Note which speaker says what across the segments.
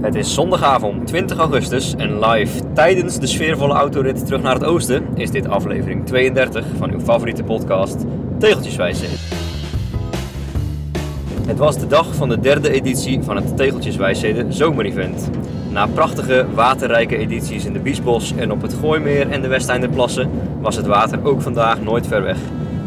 Speaker 1: Het is zondagavond 20 augustus en live tijdens de sfeervolle autorit terug naar het oosten is dit aflevering 32 van uw favoriete podcast Tegeltjeswijze. Het was de dag van de derde editie van het Tegeltjeswijsheden Zomerevent. Na prachtige waterrijke edities in de Biesbos en op het Gooimeer en de Westeinderplassen was het water ook vandaag nooit ver weg.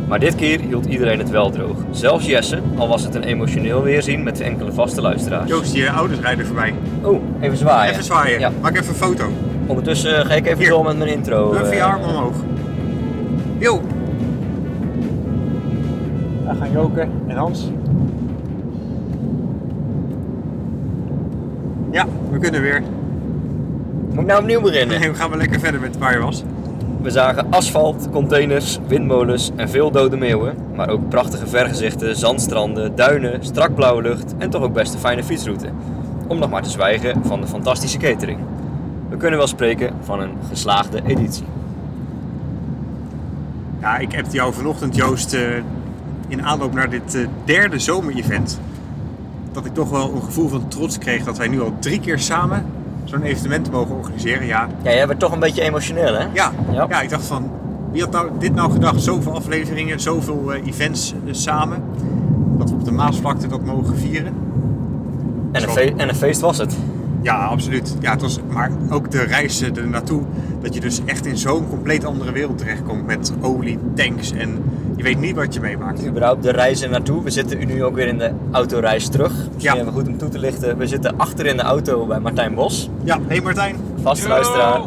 Speaker 1: Maar dit keer hield iedereen het wel droog. Zelfs Jesse, al was het een emotioneel weerzien met enkele vaste luisteraars.
Speaker 2: Joost, je ouders rijden voorbij.
Speaker 1: Oh, even zwaaien.
Speaker 2: Even zwaaien.
Speaker 1: Ja.
Speaker 2: Maak even een foto.
Speaker 1: Ondertussen eh, ga ik even
Speaker 2: Hier.
Speaker 1: door met mijn
Speaker 3: Oh,
Speaker 1: intro.
Speaker 2: Doe even
Speaker 1: eh.
Speaker 2: je arm omhoog. Jo.
Speaker 3: Wij gaan Joken en Hans.
Speaker 2: Ja, we kunnen weer.
Speaker 1: Moet ik nou opnieuw beginnen?
Speaker 2: Nee, we gaan wel lekker verder met waar je was.
Speaker 1: We zagen asfalt, containers, windmolens en veel dode meeuwen. Maar ook prachtige vergezichten, zandstranden, duinen, strak blauwe lucht en toch ook best een fijne fietsroute. Om nog maar te zwijgen van de fantastische catering. We kunnen wel spreken van een geslaagde editie.
Speaker 2: Ja, ik heb jou vanochtend, Joost, eh, in aanloop naar dit eh, derde zomerevent. Dat ik toch wel een gevoel van trots kreeg dat wij nu al drie keer samen zo'n evenement mogen organiseren. Ja,
Speaker 1: Ja, jij werd toch een beetje emotioneel, hè?
Speaker 2: ja,
Speaker 1: Ja.
Speaker 2: ja. ik dacht van, wie had nou, dit nou gedacht? Zoveel afleveringen, zoveel eh, events eh, samen. Dat we op de Maasvlakte dat mogen vieren.
Speaker 1: En een, fe- en een feest was het.
Speaker 2: Ja, absoluut. Ja, het was, maar ook de reis eh, er naartoe. Dat je dus echt in zo'n compleet andere wereld terechtkomt. Met olie, tanks en je weet niet wat je meemaakt.
Speaker 1: Überhaupt de reizen naartoe. We zitten nu ook weer in de autoreis terug. Misschien
Speaker 2: Ja.
Speaker 1: even goed om toe te lichten. We zitten achter in de auto bij Martijn Bos.
Speaker 2: Ja, hey Martijn.
Speaker 1: Vaste
Speaker 2: Yo!
Speaker 1: luisteraar.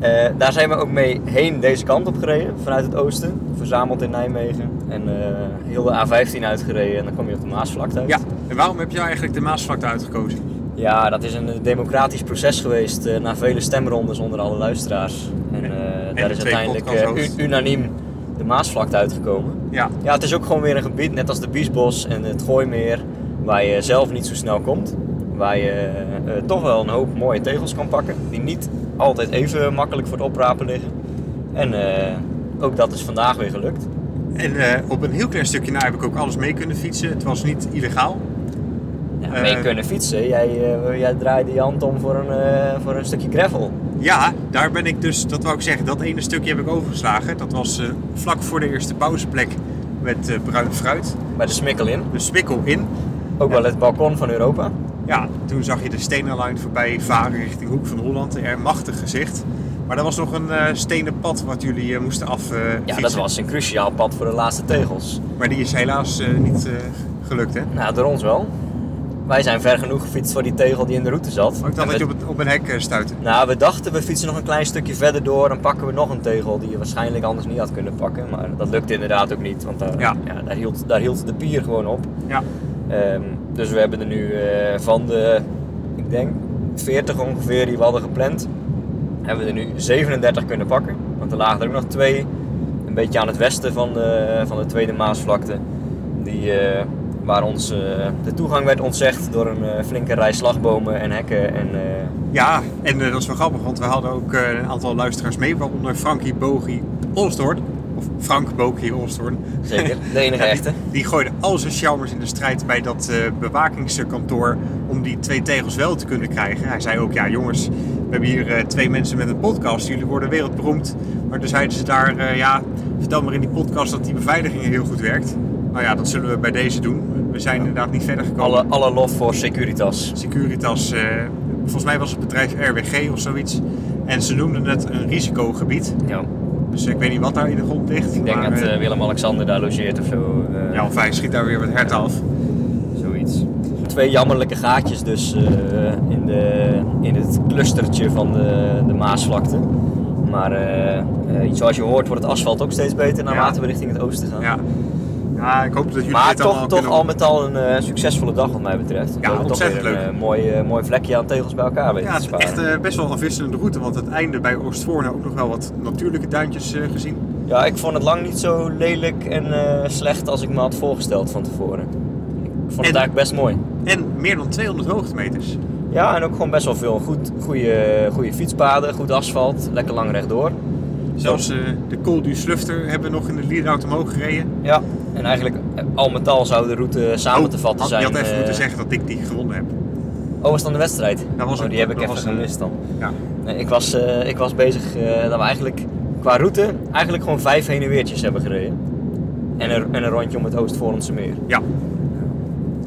Speaker 1: Eh, daar zijn we ook mee heen deze kant op gereden, vanuit het oosten. Verzameld in Nijmegen. En eh, heel de A15 uitgereden en dan kwam je op de Maasvlakte uit.
Speaker 2: Ja, en waarom heb jij eigenlijk de Maasvlakte uitgekozen?
Speaker 1: Ja, dat is een eh, democratisch proces geweest eh, na vele stemrondes onder alle luisteraars. En, eh, daar
Speaker 2: de
Speaker 1: is
Speaker 2: twee
Speaker 1: uiteindelijk eh,
Speaker 2: podcasthosts.
Speaker 1: u- unaniem de Maasvlakte uitgekomen.
Speaker 2: Ja,
Speaker 1: Ja, het is ook gewoon weer een gebied, net als de Biesbos en het Gooimeer, waar je zelf niet zo snel komt. Waar je eh, eh, toch wel een hoop mooie tegels kan pakken, die niet altijd even makkelijk voor het oprapen liggen. En eh, ook dat is vandaag weer gelukt.
Speaker 2: en eh, op een heel klein stukje na heb ik ook alles mee kunnen fietsen. Het was niet illegaal.
Speaker 1: Ja,
Speaker 2: Eh.
Speaker 1: mee kunnen fietsen. Jij, eh, jij draaide je hand om voor een, eh, voor een stukje gravel.
Speaker 2: Ja, daar ben ik dus, dat wou ik zeggen, dat ene stukje heb ik overgeslagen. Dat was eh, vlak voor de eerste pauzeplek met eh, bruin fruit.
Speaker 1: Bij de smikkel in.
Speaker 2: De spikkel in.
Speaker 1: Ook wel het balkon van Europa.
Speaker 2: Ja, toen zag je de stenen lijn voorbij varen richting Hoek van Holland. Een machtig gezicht. Maar er was nog een eh, stenen pad wat jullie eh, moesten af. eh,
Speaker 1: Ja, dat
Speaker 2: fietsen.
Speaker 1: was een cruciaal pad voor de laatste tegels.
Speaker 2: Maar die is helaas eh, niet eh, gelukt, hè?
Speaker 1: Nou, door ons wel. Wij zijn ver genoeg gefietst voor die tegel die in de route zat.
Speaker 2: Ook
Speaker 1: En
Speaker 2: dan dat
Speaker 1: we-
Speaker 2: je op, het, op een hek eh, stuitte.
Speaker 1: Nou, we dachten we fietsen nog een klein stukje verder door en pakken we nog een tegel die je waarschijnlijk anders niet had kunnen pakken. Maar dat lukte inderdaad ook niet, want daar, ja.
Speaker 2: Ja.
Speaker 1: daar, hield, daar hield de pier gewoon op.
Speaker 2: Ja.
Speaker 1: Ehm, dus we hebben er nu eh, van de, ik denk, 40 ongeveer die we hadden gepland, hebben we er nu 37 kunnen pakken. Want er lagen er ook nog twee, een beetje aan het westen van de, van de Tweede Maasvlakte, die, eh, waar ons, eh, de toegang werd ontzegd door een eh, flinke rij slagbomen en hekken en... eh,
Speaker 2: Ja, en eh, dat is wel grappig, want we hadden ook eh, een aantal luisteraars mee, waaronder Frankie Bogie Olsdoorn. Of Frank Bogie Olsdoorn.
Speaker 1: Zeker, de enige
Speaker 2: die-
Speaker 1: echte.
Speaker 2: Die, gooide al zijn sjouwers in de strijd bij dat eh, bewakingskantoor om die twee tegels wel te kunnen krijgen. Hij zei ook, ja jongens, we hebben hier eh, twee mensen met een podcast, jullie worden wereldberoemd. Maar toen zeiden ze daar, eh, ja, vertel maar in die podcast dat die beveiliging heel goed werkt. Nou ja, dat zullen we bij deze doen. We zijn inderdaad niet verder gekomen.
Speaker 1: Alle, alle lof voor Securitas.
Speaker 2: Securitas, eh, volgens mij was het bedrijf RWG of zoiets. En ze noemden het een risicogebied.
Speaker 1: Ja,
Speaker 2: Dus ik weet niet wat daar in de grond ligt.
Speaker 1: ik denk
Speaker 2: maar,
Speaker 1: dat
Speaker 2: eh,
Speaker 1: eh, Willem-Alexander daar logeert of zo. eh,
Speaker 2: ja, of hij schiet daar weer wat herten af.
Speaker 1: Zoiets. Twee jammerlijke gaatjes dus eh, in, de, in het clustertje van de, de Maasvlakte. Maar eh, eh, zoals je hoort wordt het asfalt ook steeds beter naarmate
Speaker 2: Ja.
Speaker 1: we richting het oosten gaan.
Speaker 2: Ja. ja, ik hoop dat jullie
Speaker 1: Maar
Speaker 2: dit
Speaker 1: toch,
Speaker 2: allemaal
Speaker 1: toch
Speaker 2: kunnen...
Speaker 1: al met al een eh, succesvolle dag wat mij betreft. We hebben toch weer
Speaker 2: ontzettend
Speaker 1: een
Speaker 2: leuk.
Speaker 1: eh, mooi, eh, mooi vlekje aan tegels bij elkaar weten
Speaker 2: Ja,
Speaker 1: te
Speaker 2: het is
Speaker 1: sparen.
Speaker 2: echt eh, best wel een afwisselende route, want aan het einde bij Oostvoorne ook nog wel wat natuurlijke duintjes eh, gezien.
Speaker 1: Ja, ik vond het lang niet zo lelijk en eh, slecht als ik me had voorgesteld van tevoren. Ik vond het
Speaker 2: En-
Speaker 1: eigenlijk best mooi.
Speaker 2: En meer dan 200 hoogtemeters.
Speaker 1: Ja, en ook gewoon best wel veel goed, goede, goede fietspaden, goed asfalt, lekker lang rechtdoor.
Speaker 2: Zelfs eh, de Col du Slufter hebben we nog in de Lieraut omhoog gereden.
Speaker 1: Ja. En eigenlijk eh, al met al zou de route samen
Speaker 2: Oh,
Speaker 1: te vatten
Speaker 2: had-
Speaker 1: zijn.
Speaker 2: Je had even
Speaker 1: eh,
Speaker 2: moeten zeggen dat ik die gewonnen heb.
Speaker 1: Oh, was dan de wedstrijd?
Speaker 2: Dat was
Speaker 1: oh,
Speaker 2: een-
Speaker 1: die heb ik
Speaker 2: dat
Speaker 1: even
Speaker 2: was een-
Speaker 1: gemist dan.
Speaker 2: Ja.
Speaker 1: Nee, ik, was, eh, ik was bezig eh, dat we eigenlijk qua route eigenlijk gewoon vijf heen en weertjes hebben gereden. En een, en een rondje om het Oostvoorlandse meer.
Speaker 2: Ja.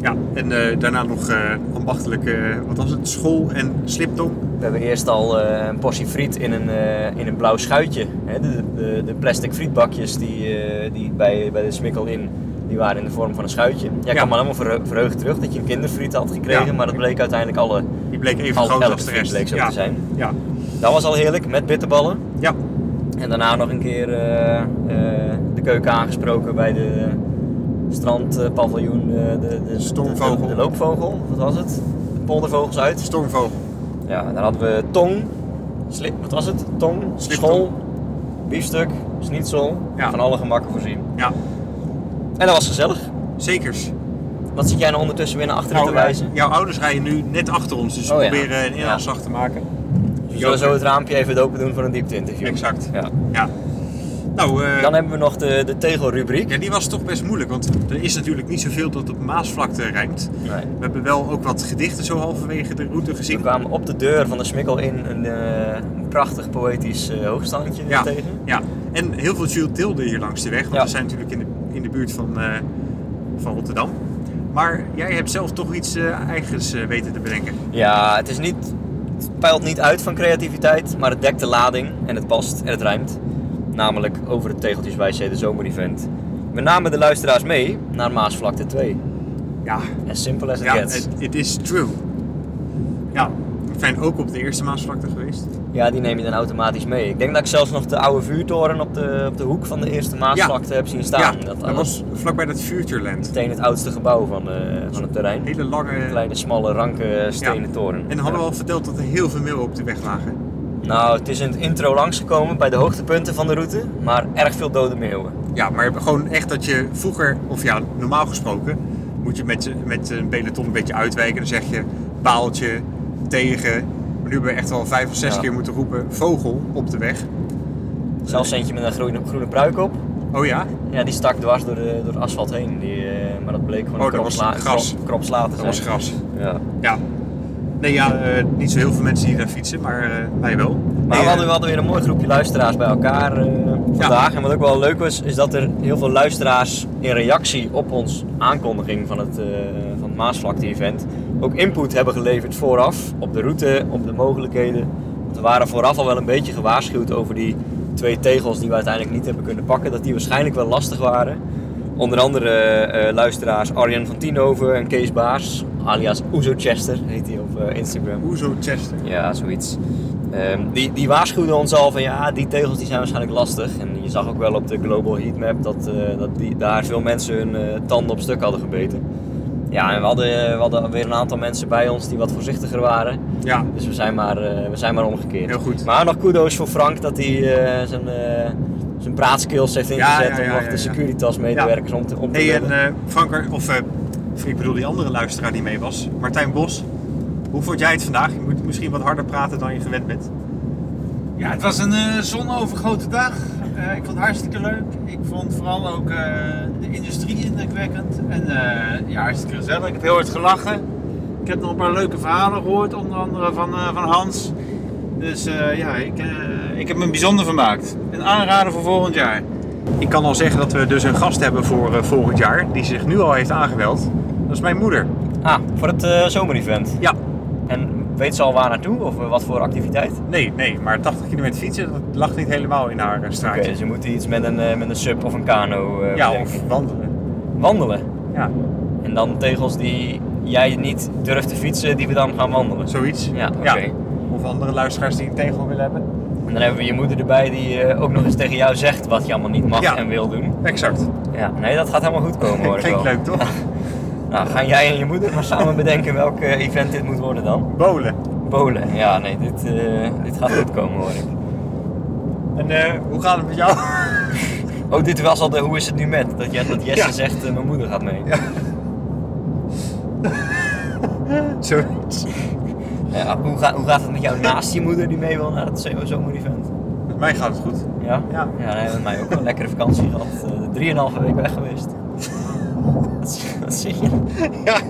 Speaker 2: Ja, en eh, daarna nog eh ambachtelijke, eh, wat was het, school en sliptong.
Speaker 1: We hebben eerst al eh, een portie friet in een, eh, in een blauw schuitje. Hè, de, de, de plastic frietbakjes die, eh, die bij, bij de smikkel in, die waren in de vorm van een schuitje. Jij
Speaker 2: Ja.
Speaker 1: kwam allemaal verhe- verheugd terug dat je een kinderfriet had gekregen,
Speaker 2: Ja.
Speaker 1: maar dat bleek uiteindelijk alle...
Speaker 2: Die bleek even
Speaker 1: Al
Speaker 2: groot
Speaker 1: elk
Speaker 2: als de
Speaker 1: friet
Speaker 2: rest.
Speaker 1: Oh, bleek zo
Speaker 2: ja.
Speaker 1: te zijn.
Speaker 2: Ja.
Speaker 1: Dat was al heerlijk, met bitterballen.
Speaker 2: ja,
Speaker 1: En daarna nog een keer eh, eh, de keuken aangesproken bij de strandpaviljoen, eh, de, de,
Speaker 2: Stormvogel.
Speaker 1: de, de loopvogel, of wat was het? De poldervogels uit.
Speaker 2: stormvogel.
Speaker 1: Ja, en daar hadden we tong, slip, wat was het? Tong,
Speaker 2: Sliptong.
Speaker 1: school, biefstuk, schnitzel,
Speaker 2: Ja.
Speaker 1: van alle gemakken voorzien.
Speaker 2: Ja,
Speaker 1: En dat was gezellig.
Speaker 2: zekers.
Speaker 1: Wat zit jij nou ondertussen weer naar achteren te
Speaker 2: Nou,
Speaker 1: wijzen?
Speaker 2: Jouw ouders rijden nu net achter ons, dus we
Speaker 1: Oh ja.
Speaker 2: proberen een
Speaker 1: Ja.
Speaker 2: inhaalslag te maken.
Speaker 1: We zullen zo het raampje even open doen voor een diepte-interview.
Speaker 2: Exact.
Speaker 1: Ja.
Speaker 2: Ja. Nou, eh,
Speaker 1: Dan hebben we nog de, de tegelrubriek.
Speaker 2: ja, die was toch best moeilijk, want er is natuurlijk niet zoveel dat op Maasvlakte rijmt.
Speaker 1: Nee.
Speaker 2: We hebben wel ook wat gedichten zo halverwege de route
Speaker 1: We
Speaker 2: gezien.
Speaker 1: kwamen op de deur van de smikkel in een, eh, een prachtig poëtisch eh, hoogstandje
Speaker 2: Ja.
Speaker 1: tegen.
Speaker 2: Ja, en heel veel Jules Tilde hier langs de weg, want
Speaker 1: Ja.
Speaker 2: we zijn natuurlijk in de, in de buurt van, eh, van Rotterdam. Maar jij hebt zelf toch iets eh, eigens eh, weten te bedenken.
Speaker 1: Ja, het is niet, het peilt niet uit van creativiteit, maar het dekt de lading en het past en het rijmt. Namelijk over het tegeltjeswijsheid de zomerevent. We namen de luisteraars mee naar Maasvlakte 2.
Speaker 2: Ja,
Speaker 1: As simple as it
Speaker 2: ja
Speaker 1: gets.
Speaker 2: het het is true. Ja, we zijn ook op de eerste Maasvlakte geweest.
Speaker 1: Ja, die neem je dan automatisch mee. Ik denk dat ik zelfs nog de oude vuurtoren op de, op de hoek van de eerste Maasvlakte heb zien
Speaker 2: ja,
Speaker 1: staan.
Speaker 2: dat,
Speaker 1: dat,
Speaker 2: was vlakbij dat Futureland.
Speaker 1: meteen het oudste gebouw van, eh, van het terrein.
Speaker 2: Hele lange...
Speaker 1: Kleine, smalle, ranke stenen
Speaker 2: Ja.
Speaker 1: toren.
Speaker 2: En
Speaker 1: Ja.
Speaker 2: hadden we al verteld dat er heel veel meeuwen op de weg lagen.
Speaker 1: Nou, het is in het intro langsgekomen bij de hoogtepunten van de route, maar erg veel dode meeuwen.
Speaker 2: Ja, maar gewoon echt dat je vroeger, of ja, normaal gesproken, moet je met, met een peloton een beetje uitwijken. Dan zeg je paaltje, tegen. Maar nu hebben we echt al vijf of zes
Speaker 1: Ja.
Speaker 2: keer moeten roepen vogel op de weg.
Speaker 1: Zelfs eentje met een groene, groene pruik op.
Speaker 2: Oh ja,
Speaker 1: Ja, die stak dwars door, de, door het asfalt heen. Die, eh, maar dat bleek gewoon
Speaker 2: Oh,
Speaker 1: een
Speaker 2: dat
Speaker 1: krop
Speaker 2: was
Speaker 1: sla- een
Speaker 2: gras.
Speaker 1: krop- krop sla te
Speaker 2: dat
Speaker 1: zijn.
Speaker 2: was gras.
Speaker 1: Ja.
Speaker 2: Ja. Nee, ja, eh, niet zo heel veel mensen die daar fietsen, maar eh, wij wel.
Speaker 1: Maar
Speaker 2: Nee,
Speaker 1: we hadden,
Speaker 2: eh,
Speaker 1: we hadden weer een mooi groepje luisteraars bij elkaar eh, vandaag. En wat ook wel leuk was, is dat er heel veel luisteraars in reactie op ons aankondiging van het, eh, van het Maasvlakte-event ook input hebben geleverd vooraf op de route, op de mogelijkheden. Want we waren vooraf al wel een beetje gewaarschuwd over die twee tegels die we uiteindelijk niet hebben kunnen pakken, dat die waarschijnlijk wel lastig waren. Onder andere eh, luisteraars Arjen van Tienhoven en Kees Baars, alias Oezo Chester heet hij op eh, Instagram.
Speaker 2: Hoezo Chester?
Speaker 1: Ja, zoiets. Ehm, die, die waarschuwden ons al van ja, die tegels die zijn waarschijnlijk lastig. En je zag ook wel op de Global Heatmap dat, eh, dat die, daar veel mensen hun eh, tanden op stuk hadden gebeten. Ja, en we hadden, eh, we hadden weer een aantal mensen bij ons die wat voorzichtiger waren.
Speaker 2: Ja,
Speaker 1: Dus we zijn maar, eh, we zijn maar omgekeerd.
Speaker 2: Heel goed.
Speaker 1: Maar nog kudo's voor Frank dat hij eh, zijn, eh, zijn praatskills heeft
Speaker 2: Ja,
Speaker 1: ingezet
Speaker 2: ja, ja,
Speaker 1: om nog
Speaker 2: ja,
Speaker 1: de
Speaker 2: ja.
Speaker 1: Securitas-medewerkers om te, om te
Speaker 2: Hey, en
Speaker 1: lullen.
Speaker 2: eh, Frank, er- of eh, ik bedoel die andere luisteraar die mee was, Martijn Bos. Hoe vond jij het vandaag? Je moet misschien wat harder praten dan je gewend bent.
Speaker 3: Ja, het was een eh, zonovergrote dag. Eh, ik vond het hartstikke leuk. Ik vond vooral ook eh, de industrie indrukwekkend. En eh, ja, hartstikke gezellig. Ik heb heel hard gelachen. Ik heb nog een paar leuke verhalen gehoord, onder andere van, eh, van Hans. Dus eh, ja, ik, eh, ik heb me bijzonder vermaakt. Een aanrader voor volgend jaar.
Speaker 2: Ik kan al zeggen dat we dus een gast hebben voor eh, volgend jaar, die zich nu al heeft aangemeld. Dat is mijn moeder.
Speaker 1: Ah, voor het eh, zomerevent.
Speaker 2: Ja,
Speaker 1: En weet ze al waar naartoe of eh, wat voor activiteit?
Speaker 2: nee, nee, maar 80 kilometer fietsen, dat lag niet helemaal in haar eh,
Speaker 1: Oké,
Speaker 2: straatje.
Speaker 1: dus je moet iets met een, eh, met een sub of een kano eh,
Speaker 2: ja,
Speaker 1: bedenken.
Speaker 2: of wandelen.
Speaker 1: wandelen.
Speaker 2: Ja,
Speaker 1: En dan tegels die jij niet durft te fietsen, die we dan gaan wandelen.
Speaker 2: zoiets.
Speaker 1: Ja, oké.
Speaker 2: Of andere luisteraars die een tegel willen hebben.
Speaker 1: En dan hebben we je moeder erbij die eh, ook nog eens tegen jou zegt wat je allemaal niet mag
Speaker 2: Ja.
Speaker 1: en wil doen.
Speaker 2: Exact.
Speaker 1: Ja, nee, dat gaat helemaal goed komen hoor. ik
Speaker 2: Klinkt
Speaker 1: Oh, wel.
Speaker 2: leuk, toch?
Speaker 1: Nou, gaan jij en je moeder maar samen bedenken welk eh, event dit moet worden dan?
Speaker 2: Bolen.
Speaker 1: Bolen. Ja, nee, dit, eh, dit gaat goed komen hoor ik.
Speaker 2: En eh, hoe gaat het met jou?
Speaker 1: Oh, dit was al de hoe is het nu met? Dat, je, dat Jesse
Speaker 2: Ja.
Speaker 1: zegt, eh, mijn moeder gaat mee.
Speaker 2: Ja. zoiets.
Speaker 1: Ja, hoe, ga- hoe gaat het met jou naast je moeder die mee wil naar het CO zomerevent?
Speaker 2: Met mij gaat het goed.
Speaker 1: Ja?
Speaker 2: Ja.
Speaker 1: Ja, nee, met mij ook wel een lekkere vakantie gehad. Eh, Drieënhalve week weg geweest. Wat zie- Wat zie je?
Speaker 2: Ja.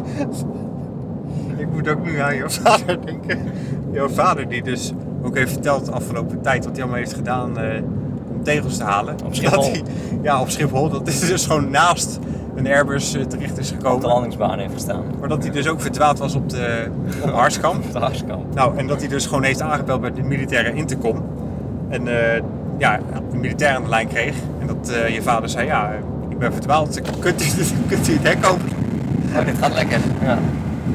Speaker 2: Ik moet ook nu aan jouw vader denken. Jouw vader die dus ook heeft verteld de afgelopen tijd wat hij allemaal heeft gedaan eh, om tegels te halen.
Speaker 1: Op Schiphol.
Speaker 2: Dat hij- ja, op Schiphol. Dat is dus gewoon naast een Airbus eh, terecht is
Speaker 1: op de
Speaker 2: gekomen.
Speaker 1: landingsbaan heeft gestaan.
Speaker 2: Maar dat hij dus ook verdwaald was op de op Harskamp.
Speaker 1: Op de harskant.
Speaker 2: Nou, en dat hij dus gewoon heeft aangebeld bij de militaire intercom. En eh, ja, de militair aan de lijn kreeg. En dat eh, je vader zei, ja, eh, ik ben verdwaald. Kunt u, kunt u het hek open
Speaker 1: Oh, dit gaat lekker. Ja.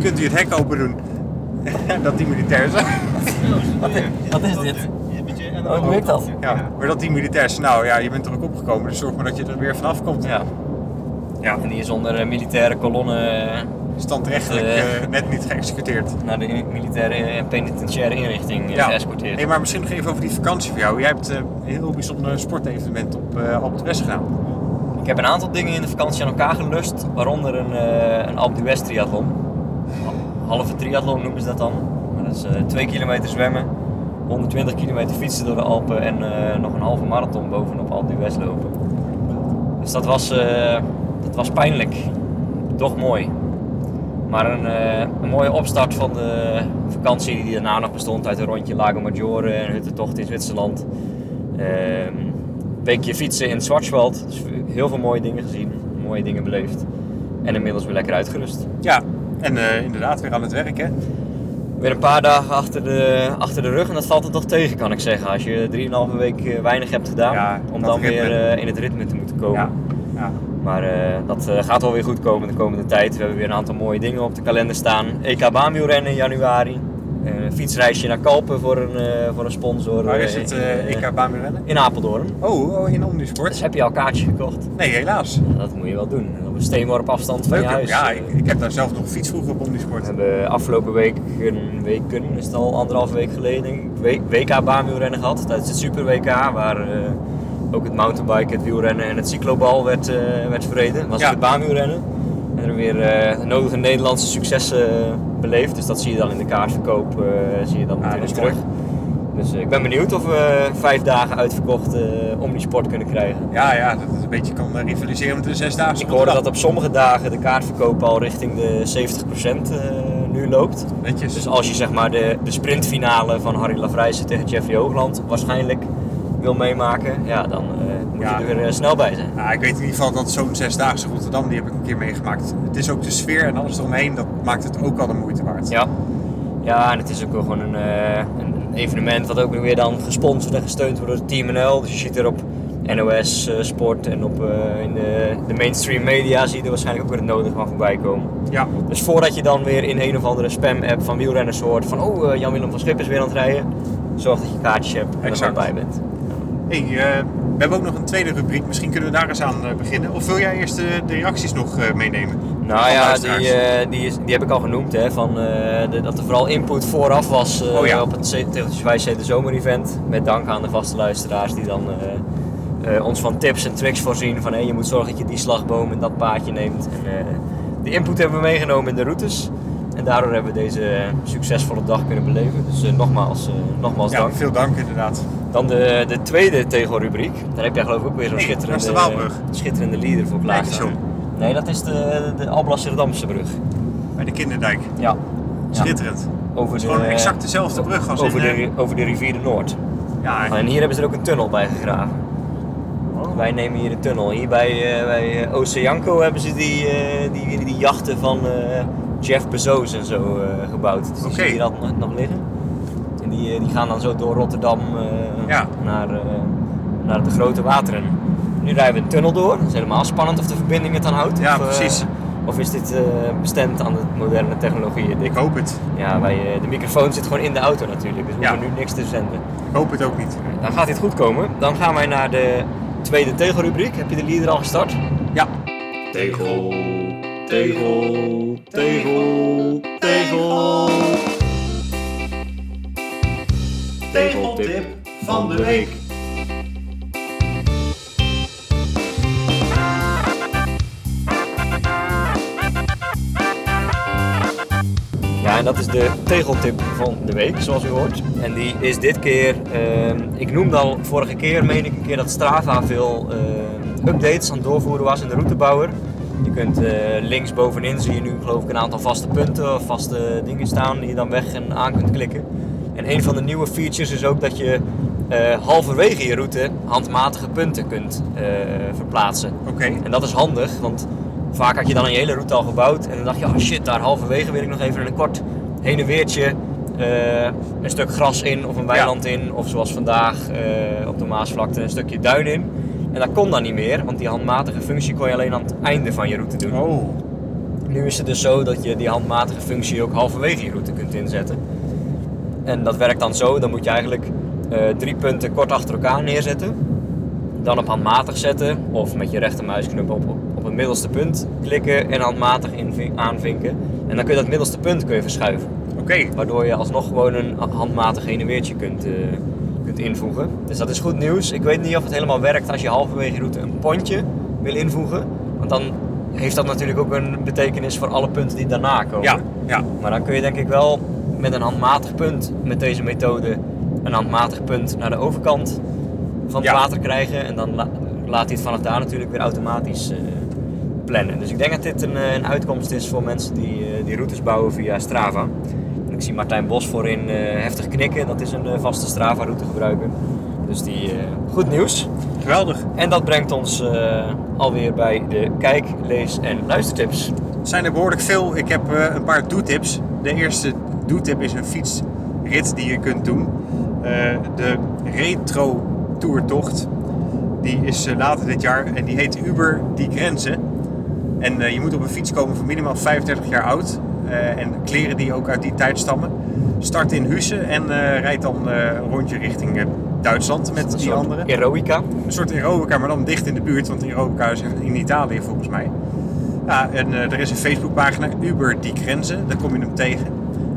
Speaker 2: Kunt u het hek open doen? En dat die militair zei,
Speaker 1: Wat, wat is dit? Oh, hoe heet dat?
Speaker 2: ja, maar dat die militair zei, nou ja, je bent er ook opgekomen. Dus zorg maar dat je er weer vanaf komt.
Speaker 1: Ja.
Speaker 2: Ja.
Speaker 1: En die is onder eh, militaire kolonne eh,
Speaker 2: Standrechtelijk
Speaker 1: Eh.
Speaker 2: eh, net niet geëxecuteerd.
Speaker 1: naar de in- militaire en penitentiaire inrichting eh, geëscorteerd.
Speaker 2: Hey, maar misschien nog even over die vakantie voor jou. Jij hebt eh, een heel bijzonder sportevenement op eh Alpe West gedaan.
Speaker 1: Ik heb een aantal dingen in de vakantie aan elkaar gelust, waaronder een, eh een Alpe d'Huez triathlon. Halve triathlon noemen ze dat dan. Maar dat is eh 2 kilometer zwemmen, 120 kilometer fietsen door de Alpen en eh, nog een halve marathon bovenop Alpe d'Huez lopen. Dus dat was, eh, dat was pijnlijk, toch mooi. Maar een, eh, een mooie opstart van de vakantie die daarna nog bestond uit een rondje Lago Maggiore en een huttentocht in Zwitserland. Ehm, een weekje fietsen in het Schwarzwald. Dus heel veel mooie dingen gezien, mooie dingen beleefd. En inmiddels weer lekker uitgerust.
Speaker 2: Ja, en eh, inderdaad weer aan het werk hè.
Speaker 1: Weer een paar dagen achter de, achter de rug en dat valt er toch tegen kan ik zeggen. Als je drieënhalve week eh, weinig hebt gedaan,
Speaker 2: Ja,
Speaker 1: om
Speaker 2: dat
Speaker 1: dan
Speaker 2: ritme.
Speaker 1: weer eh, in het ritme te moeten komen.
Speaker 2: Ja, ja.
Speaker 1: Maar eh, dat eh, gaat wel weer goed komen de komende tijd. We hebben weer een aantal mooie dingen op de kalender staan. EK Baanwielrennen in januari. Een fietsreisje naar Kalpen voor een, eh, voor een sponsor.
Speaker 2: Waar
Speaker 1: eh,
Speaker 2: is het
Speaker 1: in,
Speaker 2: eh
Speaker 1: eh,
Speaker 2: EK Baanwielrennen?
Speaker 1: In Apeldoorn.
Speaker 2: Oh, oh, in
Speaker 1: Dus
Speaker 2: Omnisport?
Speaker 1: heb je al een kaartje gekocht?
Speaker 2: Nee, helaas.
Speaker 1: Nou, Dat moet je wel doen. Op een steenworp afstand van
Speaker 2: Leuk.
Speaker 1: je
Speaker 2: hè?
Speaker 1: huis.
Speaker 2: Ja,
Speaker 1: Eh,
Speaker 2: ik, ik heb daar zelf nog gefietst vroeger op
Speaker 1: We
Speaker 2: Omnisport.
Speaker 1: hebben afgelopen week, een week kunnen, is het al anderhalf week geleden, denk ik, we- WK baanwielrennen gehad. Tijdens het Super WK, waar eh, ook het mountainbiken, het wielrennen en het cyclobal werd, eh werd verreden. Was
Speaker 2: Ja.
Speaker 1: het het baanwielrennen. En er weer eh, de nodige Nederlandse successen beleefd. Dus dat zie je dan in de kaartverkoop, eh, zie je dan
Speaker 2: Ja,
Speaker 1: natuurlijk
Speaker 2: Ah, dat is
Speaker 1: terug. Dus eh, ik ben benieuwd of we vijf dagen uitverkocht eh, om die sport kunnen krijgen.
Speaker 2: Ja, ja, dat het een beetje kan eh, rivaliseren met de zesdaagse.
Speaker 1: Ik hoorde
Speaker 2: op de
Speaker 1: dat op sommige dagen de kaartverkoop al richting de 70% eh, nu loopt.
Speaker 2: dag. Netjes.
Speaker 1: Dus als je zeg maar de, de sprintfinale van Harry Lavrijsen tegen Jeffrey Hoogland waarschijnlijk wil meemaken, ja, dan eh, moet
Speaker 2: Ja.
Speaker 1: je er eh, snel bij zijn.
Speaker 2: Ja, ik weet in ieder geval dat zo'n zesdaagse Rotterdam, die heb ik een keer meegemaakt. Het is ook de sfeer en alles eromheen, dat maakt het ook al de moeite waard.
Speaker 1: Ja, ja en het is ook wel gewoon een, eh, een een evenement wat ook weer dan gesponsord en gesteund wordt door Team NL. Dus je ziet er op NOS eh, Sport en op eh, in de, de mainstream media zie je er waarschijnlijk ook weer het nodige van voorbij komen.
Speaker 2: Ja,
Speaker 1: Dus voordat je dan weer in een of andere spam-app van wielrenners hoort van oh, eh, Jan-Willem van Schip is weer aan het rijden, zorg dat je kaartjes hebt en er
Speaker 2: Exact.
Speaker 1: dan bij bent.
Speaker 2: hey, eh, we hebben ook nog een tweede rubriek. Misschien kunnen we daar eens aan eh, beginnen. Of wil jij eerst de, de reacties nog eh, meenemen?
Speaker 1: Nou
Speaker 2: Van
Speaker 1: ja, die,
Speaker 2: luisteraars.
Speaker 1: eh, die, is, die heb ik al genoemd, hè, van, eh, de- dat er vooral input vooraf was eh,
Speaker 2: Oh ja.
Speaker 1: op het C- Tegeltjes Wijsheid de Zomer-event. Met dank aan de vaste luisteraars die dan eh, eh, ons van tips en tricks voorzien. Van hey, je moet zorgen dat je die slagboom en dat paadje neemt. En, eh, de input hebben we meegenomen in de routes. En daardoor hebben we deze eh, succesvolle dag kunnen beleven. Dus eh, nogmaals, eh, nogmaals
Speaker 2: ja,
Speaker 1: dank.
Speaker 2: veel dank inderdaad.
Speaker 1: Dan de, de tweede tegelrubriek. Daar heb jij geloof ik ook weer zo'n
Speaker 2: Nee,
Speaker 1: schitterende,
Speaker 2: dat is de Waalbrug.
Speaker 1: schitterende leader voor klaarstaan.
Speaker 2: Lekker
Speaker 1: Nee, dat is de, de Alblasserdamse brug.
Speaker 2: Bij de Kinderdijk.
Speaker 1: Ja.
Speaker 2: Schitterend.
Speaker 1: Over de,
Speaker 2: gewoon exact dezelfde brug als
Speaker 1: over,
Speaker 2: in, eh,
Speaker 1: de, over de rivier de Noord.
Speaker 2: Ja,
Speaker 1: En hier hebben ze er ook een tunnel bij gegraven. Wij nemen hier een tunnel. Hier bij, eh, bij eh, Oceanco hebben ze die, eh, die, die jachten van eh, Jeff Bezos en zo eh, gebouwd. Dus die
Speaker 2: Oké.
Speaker 1: zie je hier dat nog- nog liggen. En die, eh, die gaan dan zo door Rotterdam eh,
Speaker 2: Ja.
Speaker 1: naar, eh, naar de grote wateren. Nu rijden we een tunnel door. Dat is helemaal spannend of de verbinding het dan houdt.
Speaker 2: Ja,
Speaker 1: of, eh,
Speaker 2: precies.
Speaker 1: of is dit eh, bestemd aan de moderne technologieën?
Speaker 2: ik hoop het.
Speaker 1: Ja, wij, eh, de microfoon zit gewoon in de auto natuurlijk, dus we
Speaker 2: Ja.
Speaker 1: hoeven nu niks te zenden.
Speaker 2: Ik hoop het ook niet.
Speaker 1: Dan gaat dit goed komen. Dan gaan wij naar de tweede tegelrubriek. Heb je de leader al gestart?
Speaker 2: Ja,
Speaker 4: Tegel, tegel, tegel, tegel. Tegeltip van de week.
Speaker 1: Ja, en dat is de tegeltip van de week, zoals u hoort. En die is dit keer, ehm, ik noemde al vorige keer, meen ik een keer dat Strava veel ehm, updates aan het doorvoeren was in de routebouwer. Je kunt eh, links bovenin zie je nu geloof ik een aantal vaste punten of vaste dingen staan die je dan weg en aan kunt klikken. En een van de nieuwe features is ook dat je eh, halverwege je route handmatige punten kunt eh, verplaatsen.
Speaker 2: Oké.
Speaker 1: En dat is handig, want vaak had je dan een hele route al gebouwd en dan dacht je, oh shit, daar halverwege wil ik nog even een kort heen en weertje, eh, een stuk gras in of een weiland in, of zoals vandaag eh, op de Maasvlakte een stukje duin in. En dat kon dan niet meer, want die handmatige functie kon je alleen aan het einde van je route doen.
Speaker 2: Oh.
Speaker 1: Nu is het dus zo dat je die handmatige functie ook halverwege je route kunt inzetten. En dat werkt dan zo, dan moet je eigenlijk eh, drie punten kort achter elkaar neerzetten. Dan op handmatig zetten of met je rechtermuisknop op, op, op het middelste punt klikken en handmatig invin- aanvinken. En dan kun je dat middelste punt kun je verschuiven.
Speaker 2: Oké.
Speaker 1: Waardoor je alsnog gewoon een handmatig heen en weertje kunt, eh, kunt invoegen. Dus dat is goed nieuws. Ik weet niet of het helemaal werkt als je halverwege je route een pontje wil invoegen. Want dan heeft dat natuurlijk ook een betekenis voor alle punten die daarna komen.
Speaker 2: Ja. Ja.
Speaker 1: Maar dan kun je denk ik wel met een handmatig punt, met deze methode, een handmatig punt naar de overkant van het
Speaker 2: Ja.
Speaker 1: water krijgen. En dan la- laat hij het vanaf daar natuurlijk weer automatisch eh, plannen. Dus ik denk dat dit een, eh, een uitkomst is voor mensen die, eh, die routes bouwen via Strava. En Ik zie Martijn Bos voorin eh, heftig knikken. Dat is een eh, vaste Strava route gebruiker. Dus die, eh, goed nieuws.
Speaker 2: Geweldig.
Speaker 1: En dat brengt ons eh, alweer bij de kijk, lees en luistertips.
Speaker 2: zijn er behoorlijk veel. Ik heb eh, een paar do-tips. De eerste do-tip is een fietsrit die je kunt doen. Eh, de Retro Tourtocht. Die is eh, later dit jaar en die heet Uber die Grenzen. En eh, je moet op een fiets komen van minimaal 35 jaar oud. eh, en kleren die ook uit die tijd stammen. Start in Husse en eh, rijdt dan eh, een rondje richting eh, Duitsland met
Speaker 1: Een
Speaker 2: die
Speaker 1: soort
Speaker 2: anderen
Speaker 1: Eroica.
Speaker 2: een soort aerobica, maar dan dicht in de buurt. Want aerobica is in Italië volgens mij. Ja, en eh, er is een Facebookpagina, Uber die grenzen. Daar kom je hem tegen.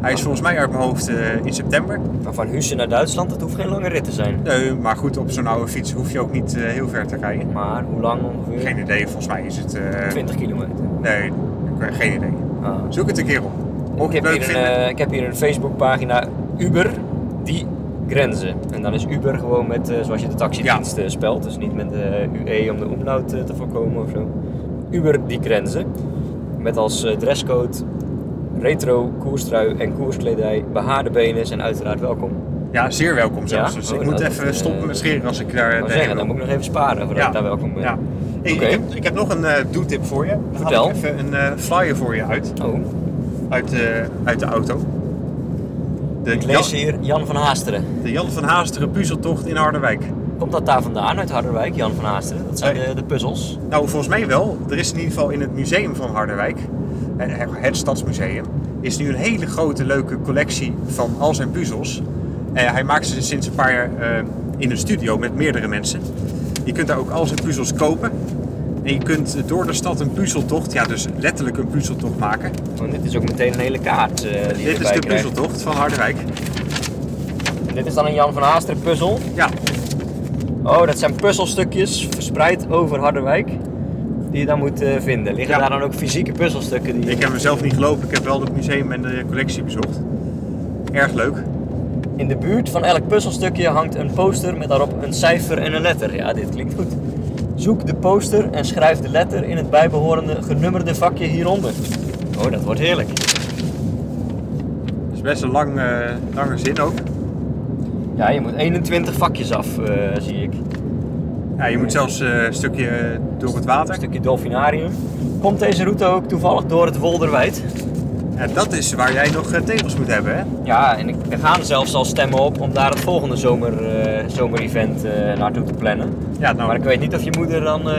Speaker 2: Hij is volgens mij uit mijn hoofd eh, in september.
Speaker 1: Maar van Hussen naar Duitsland, dat hoeft geen lange rit te zijn.
Speaker 2: Nee, maar goed, op zo'n oude fiets hoef je ook niet eh, heel ver te rijden.
Speaker 1: Maar hoe lang ongeveer?
Speaker 2: Geen idee, volgens mij is het... eh,
Speaker 1: 20 kilometer.
Speaker 2: nee, ik heb geen idee.
Speaker 1: Ah.
Speaker 2: Zoek het een keer op. Mocht
Speaker 1: Ik, heb
Speaker 2: je het leuk
Speaker 1: hier een,
Speaker 2: vinden.
Speaker 1: eh, ik heb hier een Facebookpagina Uber die grenzen. En dan is Uber gewoon met eh, zoals je de taxidienst eh, spelt. Dus niet met de UE om de omlaut eh, te voorkomen of zo. Uber die grenzen. Met als eh, dresscode retro, koerstrui en koerskledij, behaarde benen zijn uiteraard welkom.
Speaker 2: Ja, zeer welkom zelfs.
Speaker 1: Ja?
Speaker 2: Dus
Speaker 1: Oh,
Speaker 2: ik moet
Speaker 1: dat,
Speaker 2: even
Speaker 1: eh,
Speaker 2: stoppen met scheren als ik daar... eh,
Speaker 1: Ik wou zeggen, dan moet ik nog even sparen voordat ik daar welkom ben.
Speaker 2: Ja. Hey,
Speaker 1: Oké.
Speaker 2: ik, heb, ik heb nog een eh do-tip voor je. Dan haal
Speaker 1: Vertel.
Speaker 2: ik even een eh, flyer voor je uit.
Speaker 1: Oh,
Speaker 2: uit de, uit de auto. De,
Speaker 1: ik lees
Speaker 2: Jan,
Speaker 1: hier Jan van Haasteren.
Speaker 2: de Jan van Haasteren puzzeltocht in Harderwijk.
Speaker 1: Komt dat daar vandaan uit Harderwijk, Jan van Haasteren? Dat zijn
Speaker 2: Nee.
Speaker 1: de, de puzzels.
Speaker 2: Nou, volgens mij wel. Er is in ieder geval in het museum van Harderwijk, eh, het Stadsmuseum, is nu een hele grote leuke collectie van al zijn puzzels. Eh, hij maakt ze sinds een paar jaar eh, in een studio met meerdere mensen. Je kunt daar ook al zijn puzzels kopen. En je kunt eh, door de stad een puzzeltocht, ja dus letterlijk een puzzeltocht maken.
Speaker 1: Want dit is ook meteen een hele kaart eh, die je
Speaker 2: Oh, Dit is
Speaker 1: erbij
Speaker 2: de
Speaker 1: krijgt.
Speaker 2: puzzeltocht van Harderwijk.
Speaker 1: Dit is dan een Jan van Haasteren puzzel.
Speaker 2: Ja,
Speaker 1: Oh, dat zijn puzzelstukjes verspreid over Harderwijk. Die je dan moet eh, vinden. Liggen
Speaker 2: Ja.
Speaker 1: daar dan ook fysieke puzzelstukken? Die je-
Speaker 2: Ik heb hem zelf niet gelopen, ik heb wel het museum en de collectie bezocht. Erg leuk.
Speaker 1: In de buurt van elk puzzelstukje hangt een poster met daarop een cijfer en een letter. Ja, dit klinkt goed. Zoek de poster en schrijf de letter in het bijbehorende genummerde vakje hieronder. Oh, dat wordt heerlijk.
Speaker 2: Het is best een lang, eh, lange zin ook.
Speaker 1: Ja, je moet 21 vakjes af, eh, zie ik.
Speaker 2: Ja, je moet zelfs eh, een stukje eh, door het water.
Speaker 1: Een stukje dolfinarium. Komt deze route ook toevallig door het Wolderwijd?
Speaker 2: Ja, dat is waar jij nog eh, tegels moet hebben, hè?
Speaker 1: Ja, en ik, er gaan zelfs al stemmen op om daar het volgende zomer, eh, zomerevent eh, naartoe te plannen.
Speaker 2: Ja, nou,
Speaker 1: Maar ik weet niet of je moeder dan... eh,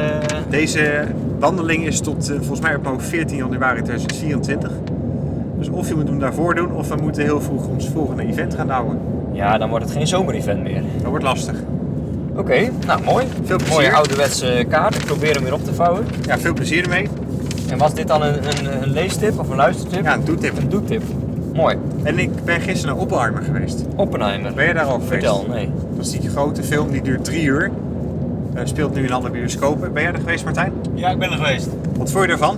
Speaker 2: deze wandeling is tot eh, volgens mij op mijn hoofd 14 januari 2024. Dus of je moet hem daarvoor doen, of we moeten heel vroeg ons volgende event gaan houden.
Speaker 1: Ja, dan wordt het geen zomerevent meer.
Speaker 2: Dat wordt lastig.
Speaker 1: Oké, nou mooi.
Speaker 2: Veel plezier.
Speaker 1: Mooie ouderwetse kaart. Ik probeer hem weer op te vouwen.
Speaker 2: Ja, veel plezier ermee.
Speaker 1: En was dit dan een, een, een leestip of een luistertip?
Speaker 2: Ja, een doetip.
Speaker 1: Een doektip. Mooi.
Speaker 2: En ik ben gisteren naar Oppenheimer geweest.
Speaker 1: Oppenheimer.
Speaker 2: Ben je daar al geweest?
Speaker 1: Vertel, nee.
Speaker 2: Dat is die grote film, die duurt drie uur. Eh, speelt nu in alle bioscopen. Ben jij er geweest, Martijn?
Speaker 3: Ja, ik ben er geweest.
Speaker 2: Wat vond je ervan?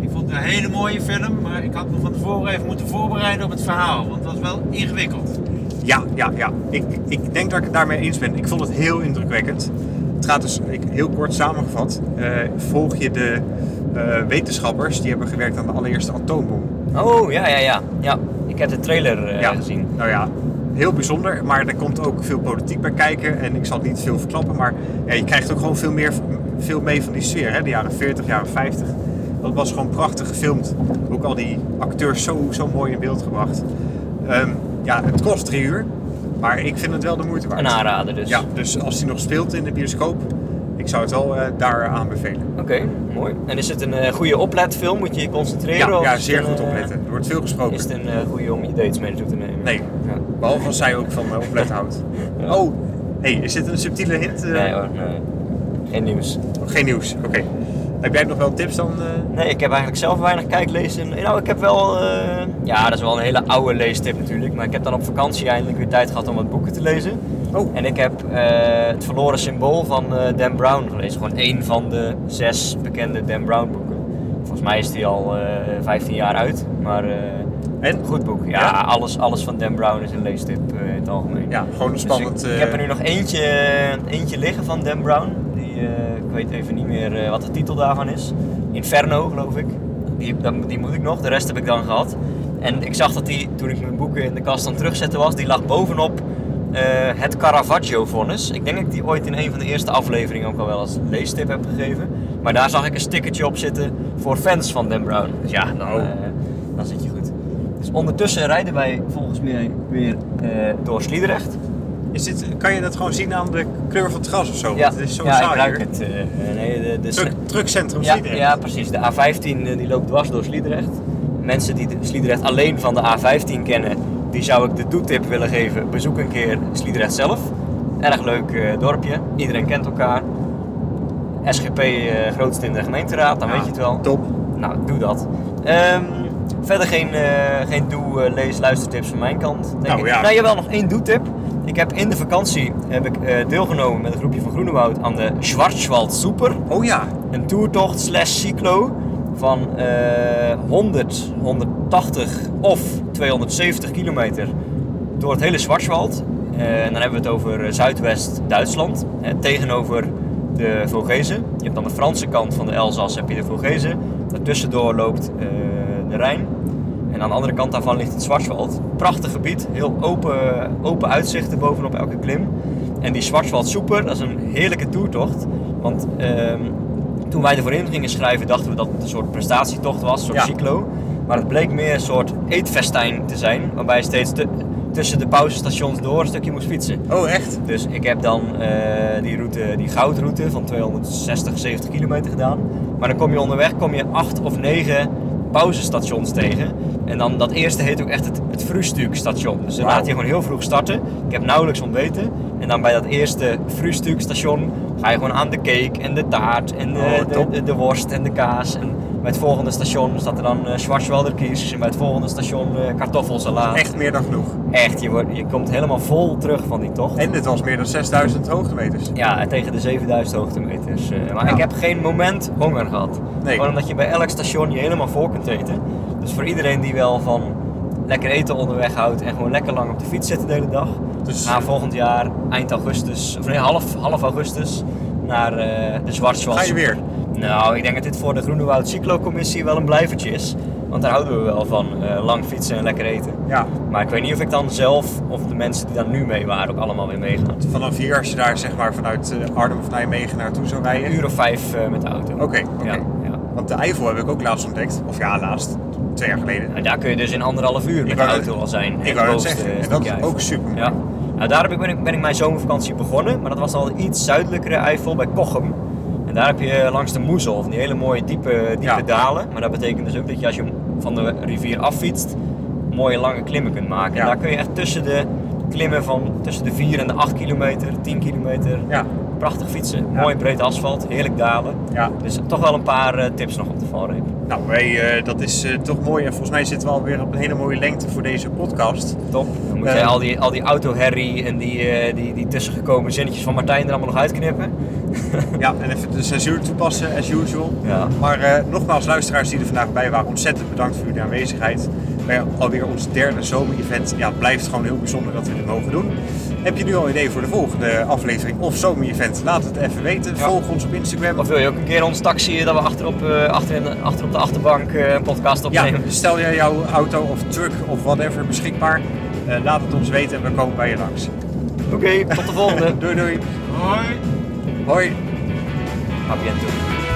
Speaker 3: Ik vond het een hele mooie film, maar ik had me van tevoren even moeten voorbereiden op het verhaal. Want het was wel ingewikkeld.
Speaker 2: Ja, ja, ja. Ik, ik denk dat ik het daarmee eens ben. Ik vond het heel indrukwekkend. Het gaat dus, ik, heel kort samengevat, eh, volg je de eh, wetenschappers die hebben gewerkt aan de allereerste atoombom.
Speaker 1: Oh, ja, ja, ja. ja. Ik heb de trailer eh, gezien.
Speaker 2: Nou ja, heel bijzonder, maar er komt ook veel politiek bij kijken. En ik zal niet veel verklappen, maar ja, je krijgt ook gewoon veel, meer, veel mee van die sfeer. Hè? De jaren 40, jaren 50. Dat was gewoon prachtig gefilmd. Ook al die acteurs zo, zo mooi in beeld gebracht. Ehm, ja, het kost drie uur, maar ik vind het wel de moeite waard.
Speaker 1: Een aanrader dus.
Speaker 2: Ja, dus als die nog speelt in de bioscoop, ik zou het wel eh, daar aanbevelen.
Speaker 1: Oké, mooi. En is het een eh, goede opletfilm? Moet je je concentreren?
Speaker 2: Ja,
Speaker 1: of
Speaker 2: ja,
Speaker 1: is
Speaker 2: zeer
Speaker 1: het een,
Speaker 2: goed
Speaker 1: eh,
Speaker 2: opletten. Er wordt veel gesproken.
Speaker 1: Is het een eh, goede om je dates mee naartoe te nemen?
Speaker 2: Nee.
Speaker 1: Ja.
Speaker 2: Behalve als zij ook van eh, opletten houdt.
Speaker 1: Ja.
Speaker 2: Oh, hey, is dit een subtiele hint? Eh, oh,
Speaker 1: Nee hoor, nee. Geen nieuws.
Speaker 2: Geen nieuws, oké. Heb jij nog wel tips dan? eh?
Speaker 1: Nee, ik heb eigenlijk zelf weinig kijklees. in- Nou, ik heb wel... eh, Ja, dat is wel een hele oude leestip natuurlijk. Maar ik heb dan op vakantie eindelijk weer tijd gehad om wat boeken te lezen.
Speaker 2: Oh,
Speaker 1: En ik heb eh, Het Verloren Symbool van eh, Dan Brown gelezen. Gewoon één van de zes bekende Dan Brown boeken. Volgens mij is die al eh 15 jaar uit. Maar eh,
Speaker 2: en?
Speaker 1: goed boek. Ja,
Speaker 2: Ja?
Speaker 1: Alles, alles van Dan Brown is een leestip eh, in het algemeen.
Speaker 2: Ja, gewoon een
Speaker 1: Dus
Speaker 2: spannend...
Speaker 1: ik, ik
Speaker 2: eh,
Speaker 1: heb er nu nog eentje, eentje liggen van Dan Brown. Die, eh, ik weet even niet meer eh, wat de titel daarvan is. Inferno, geloof ik. Die, dat- die moet ik nog, de rest heb ik dan gehad. En ik zag dat die, toen ik mijn boeken in de kast aan terugzetten was, die lag bovenop eh, het Caravaggio-vonnis. Ik denk dat ik die ooit in een van de eerste afleveringen ook al wel als leestip heb gegeven. Maar daar zag ik een stickertje op zitten voor fans van Dan Brown. Dus ja, dan,
Speaker 2: Oh.
Speaker 1: eh, dan zit je goed. Dus ondertussen rijden wij volgens mij weer eh, door Sliedrecht.
Speaker 2: Is dit, kan je dat gewoon zien aan de kleur van het gras of zo?
Speaker 1: Ja,
Speaker 2: Want het is zo
Speaker 1: ja ik
Speaker 2: saai
Speaker 1: ruik
Speaker 2: hier.
Speaker 1: het. eh, eh, nee, de, de,
Speaker 2: Truck, truckcentrum
Speaker 1: ja,
Speaker 2: Sliedrecht.
Speaker 1: ja, precies. De A15 eh, die loopt dwars door Sliedrecht. Mensen die de- Sliedrecht alleen van de A15 kennen, die zou ik de toetip willen geven. Bezoek een keer Sliedrecht zelf. Erg leuk eh, dorpje. Iedereen kent elkaar. SGP eh grootst in de gemeenteraad, dan
Speaker 2: Ja,
Speaker 1: weet je het wel.
Speaker 2: Top.
Speaker 1: Nou, doe dat. Ehm, verder geen, eh, geen doe, eh, lees, luistertips van mijn kant. Denk
Speaker 2: Nou,
Speaker 1: ik.
Speaker 2: ja.
Speaker 1: Nou, jawel, nog één doe-tip. Ik heb in de vakantie heb ik, eh, deelgenomen met een groepje van Groenewoud aan de Schwarzwald Super.
Speaker 2: Oh ja,
Speaker 1: Een toertocht slash cyclo van eh, 100, 180 of 270 kilometer door het hele Schwarzwald. Eh, en dan hebben we het over eh, Zuidwest-Duitsland, hè, tegenover de Vogezen. Je hebt aan de Franse kant van de Elzas heb je de Vogezen. Daartussendoor loopt eh, de Rijn. En aan de andere kant daarvan ligt het Schwarzwald. Prachtig gebied, heel open, open uitzichten bovenop elke klim. En die Schwarzwald Super, dat is een heerlijke toertocht. Want ehm, toen wij ervoor in gingen schrijven, dachten we dat het een soort prestatietocht was, een soort
Speaker 2: Ja.
Speaker 1: cyclo. Maar het bleek meer een soort eetfestijn te zijn, waarbij je steeds te- tussen de pauzestations door een stukje moest fietsen.
Speaker 2: oh echt?
Speaker 1: Dus ik heb dan eh, die, route, die goudroute van 260, 70 kilometer gedaan. Maar dan kom je onderweg kom je acht of negen pauzestations tegen. En dan dat eerste heet ook echt het, het Frühstückstation. Dus dan
Speaker 2: Wauw.
Speaker 1: laat je gewoon heel vroeg starten. Ik heb nauwelijks ontbeten. En dan bij dat eerste Frühstückstation ga je gewoon aan de cake en de taart en de,
Speaker 2: Oh,
Speaker 1: de,
Speaker 2: top.
Speaker 1: de, de worst en de kaas. En bij het volgende station staat er dan eh Schwarzwälder Kies. En bij het volgende station eh kartoffelsalaat.
Speaker 2: Echt meer dan genoeg.
Speaker 1: Echt, je, wordt, je komt helemaal vol terug van die tocht.
Speaker 2: En dit was meer dan 6000 hoogtemeters.
Speaker 1: Ja, tegen de 7000 hoogtemeters. eh, maar
Speaker 2: Ja.
Speaker 1: ik heb geen moment honger gehad.
Speaker 2: Nee.
Speaker 1: Gewoon omdat je bij elk station je helemaal vol kunt eten. Dus voor iedereen die wel van lekker eten onderweg houdt en gewoon lekker lang op de fiets zit de hele dag.
Speaker 2: Dus-
Speaker 1: ga volgend jaar, eind augustus, of nee, half, half augustus, naar eh, de Zwartswald.
Speaker 2: Ga je weer?
Speaker 1: Nou, ik denk dat dit voor de Groenewoud Cyclocommissie wel een blijvertje is. Want daar houden we wel van, eh, lang fietsen en lekker eten.
Speaker 2: Ja.
Speaker 1: Maar ik weet niet of ik dan zelf of de mensen die daar nu mee waren ook allemaal weer meegaan.
Speaker 2: Vanaf hier, als je daar zeg maar vanuit eh, Arnhem of Nijmegen naartoe zou rijden.
Speaker 1: Een uur of vijf eh, met de auto.
Speaker 2: Oké, oké.
Speaker 1: Ja, ja.
Speaker 2: Want de Eifel heb ik ook laatst ontdekt. Of ja, laatst. Twee jaar geleden.
Speaker 1: Nou, daar kun je dus in anderhalf uur met de
Speaker 2: wou net-
Speaker 1: auto al zijn.
Speaker 2: ik
Speaker 1: Het
Speaker 2: wou net
Speaker 1: bovenste
Speaker 2: zeggen, en dat
Speaker 1: stukje
Speaker 2: is
Speaker 1: Eifel.
Speaker 2: ook super.
Speaker 1: Ja. Nou, daar heb ik, ben, ik, ben ik mijn zomervakantie begonnen, maar dat was al iets zuidelijkere Eifel bij Kochem. En daar heb je eh, langs de Moezel, van die hele mooie diepe, diepe
Speaker 2: Ja.
Speaker 1: dalen. Maar dat betekent dus ook dat je als je van de rivier affietst, mooie lange klimmen kunt maken. En
Speaker 2: Ja.
Speaker 1: daar kun je echt tussen de klimmen van tussen de 4 en de 8 kilometer, 10 kilometer,
Speaker 2: Ja,
Speaker 1: prachtig fietsen. Mooi breed asfalt, heerlijk dalen.
Speaker 2: ja.
Speaker 1: Dus toch wel een paar eh, tips nog op de valreep.
Speaker 2: Nou, hey, eh, dat is eh, toch mooi. En volgens mij zitten we alweer op een hele mooie lengte voor deze podcast.
Speaker 1: Top. Dan moet
Speaker 2: Eh.
Speaker 1: jij al die, al die autoherrie en die, eh, die, die tussengekomen zinnetjes van Martijn er allemaal nog uitknippen.
Speaker 2: Ja, en even de censuur toepassen, as usual.
Speaker 1: Ja.
Speaker 2: Maar eh, nogmaals, luisteraars die er vandaag bij waren, ontzettend bedankt voor jullie aanwezigheid. Maar ja, alweer ons derde zomerevent. Ja, het blijft gewoon heel bijzonder dat we dit mogen doen. Heb je nu al een idee voor de volgende aflevering of zomerevent? Laat het even weten.
Speaker 1: Ja.
Speaker 2: Volg ons op Instagram.
Speaker 1: Of wil je ook een keer ons taxiën dat we achterop, eh, achterin, achter op de achterbank eh, een podcast
Speaker 2: Ja,
Speaker 1: opnemen?
Speaker 2: stel jij jouw auto of truck of whatever beschikbaar. eh, laat het ons weten en we komen bij je langs.
Speaker 1: Oké, tot de volgende.
Speaker 2: Doei doei.
Speaker 3: Hoi.
Speaker 2: Hoi.
Speaker 1: A bientôt.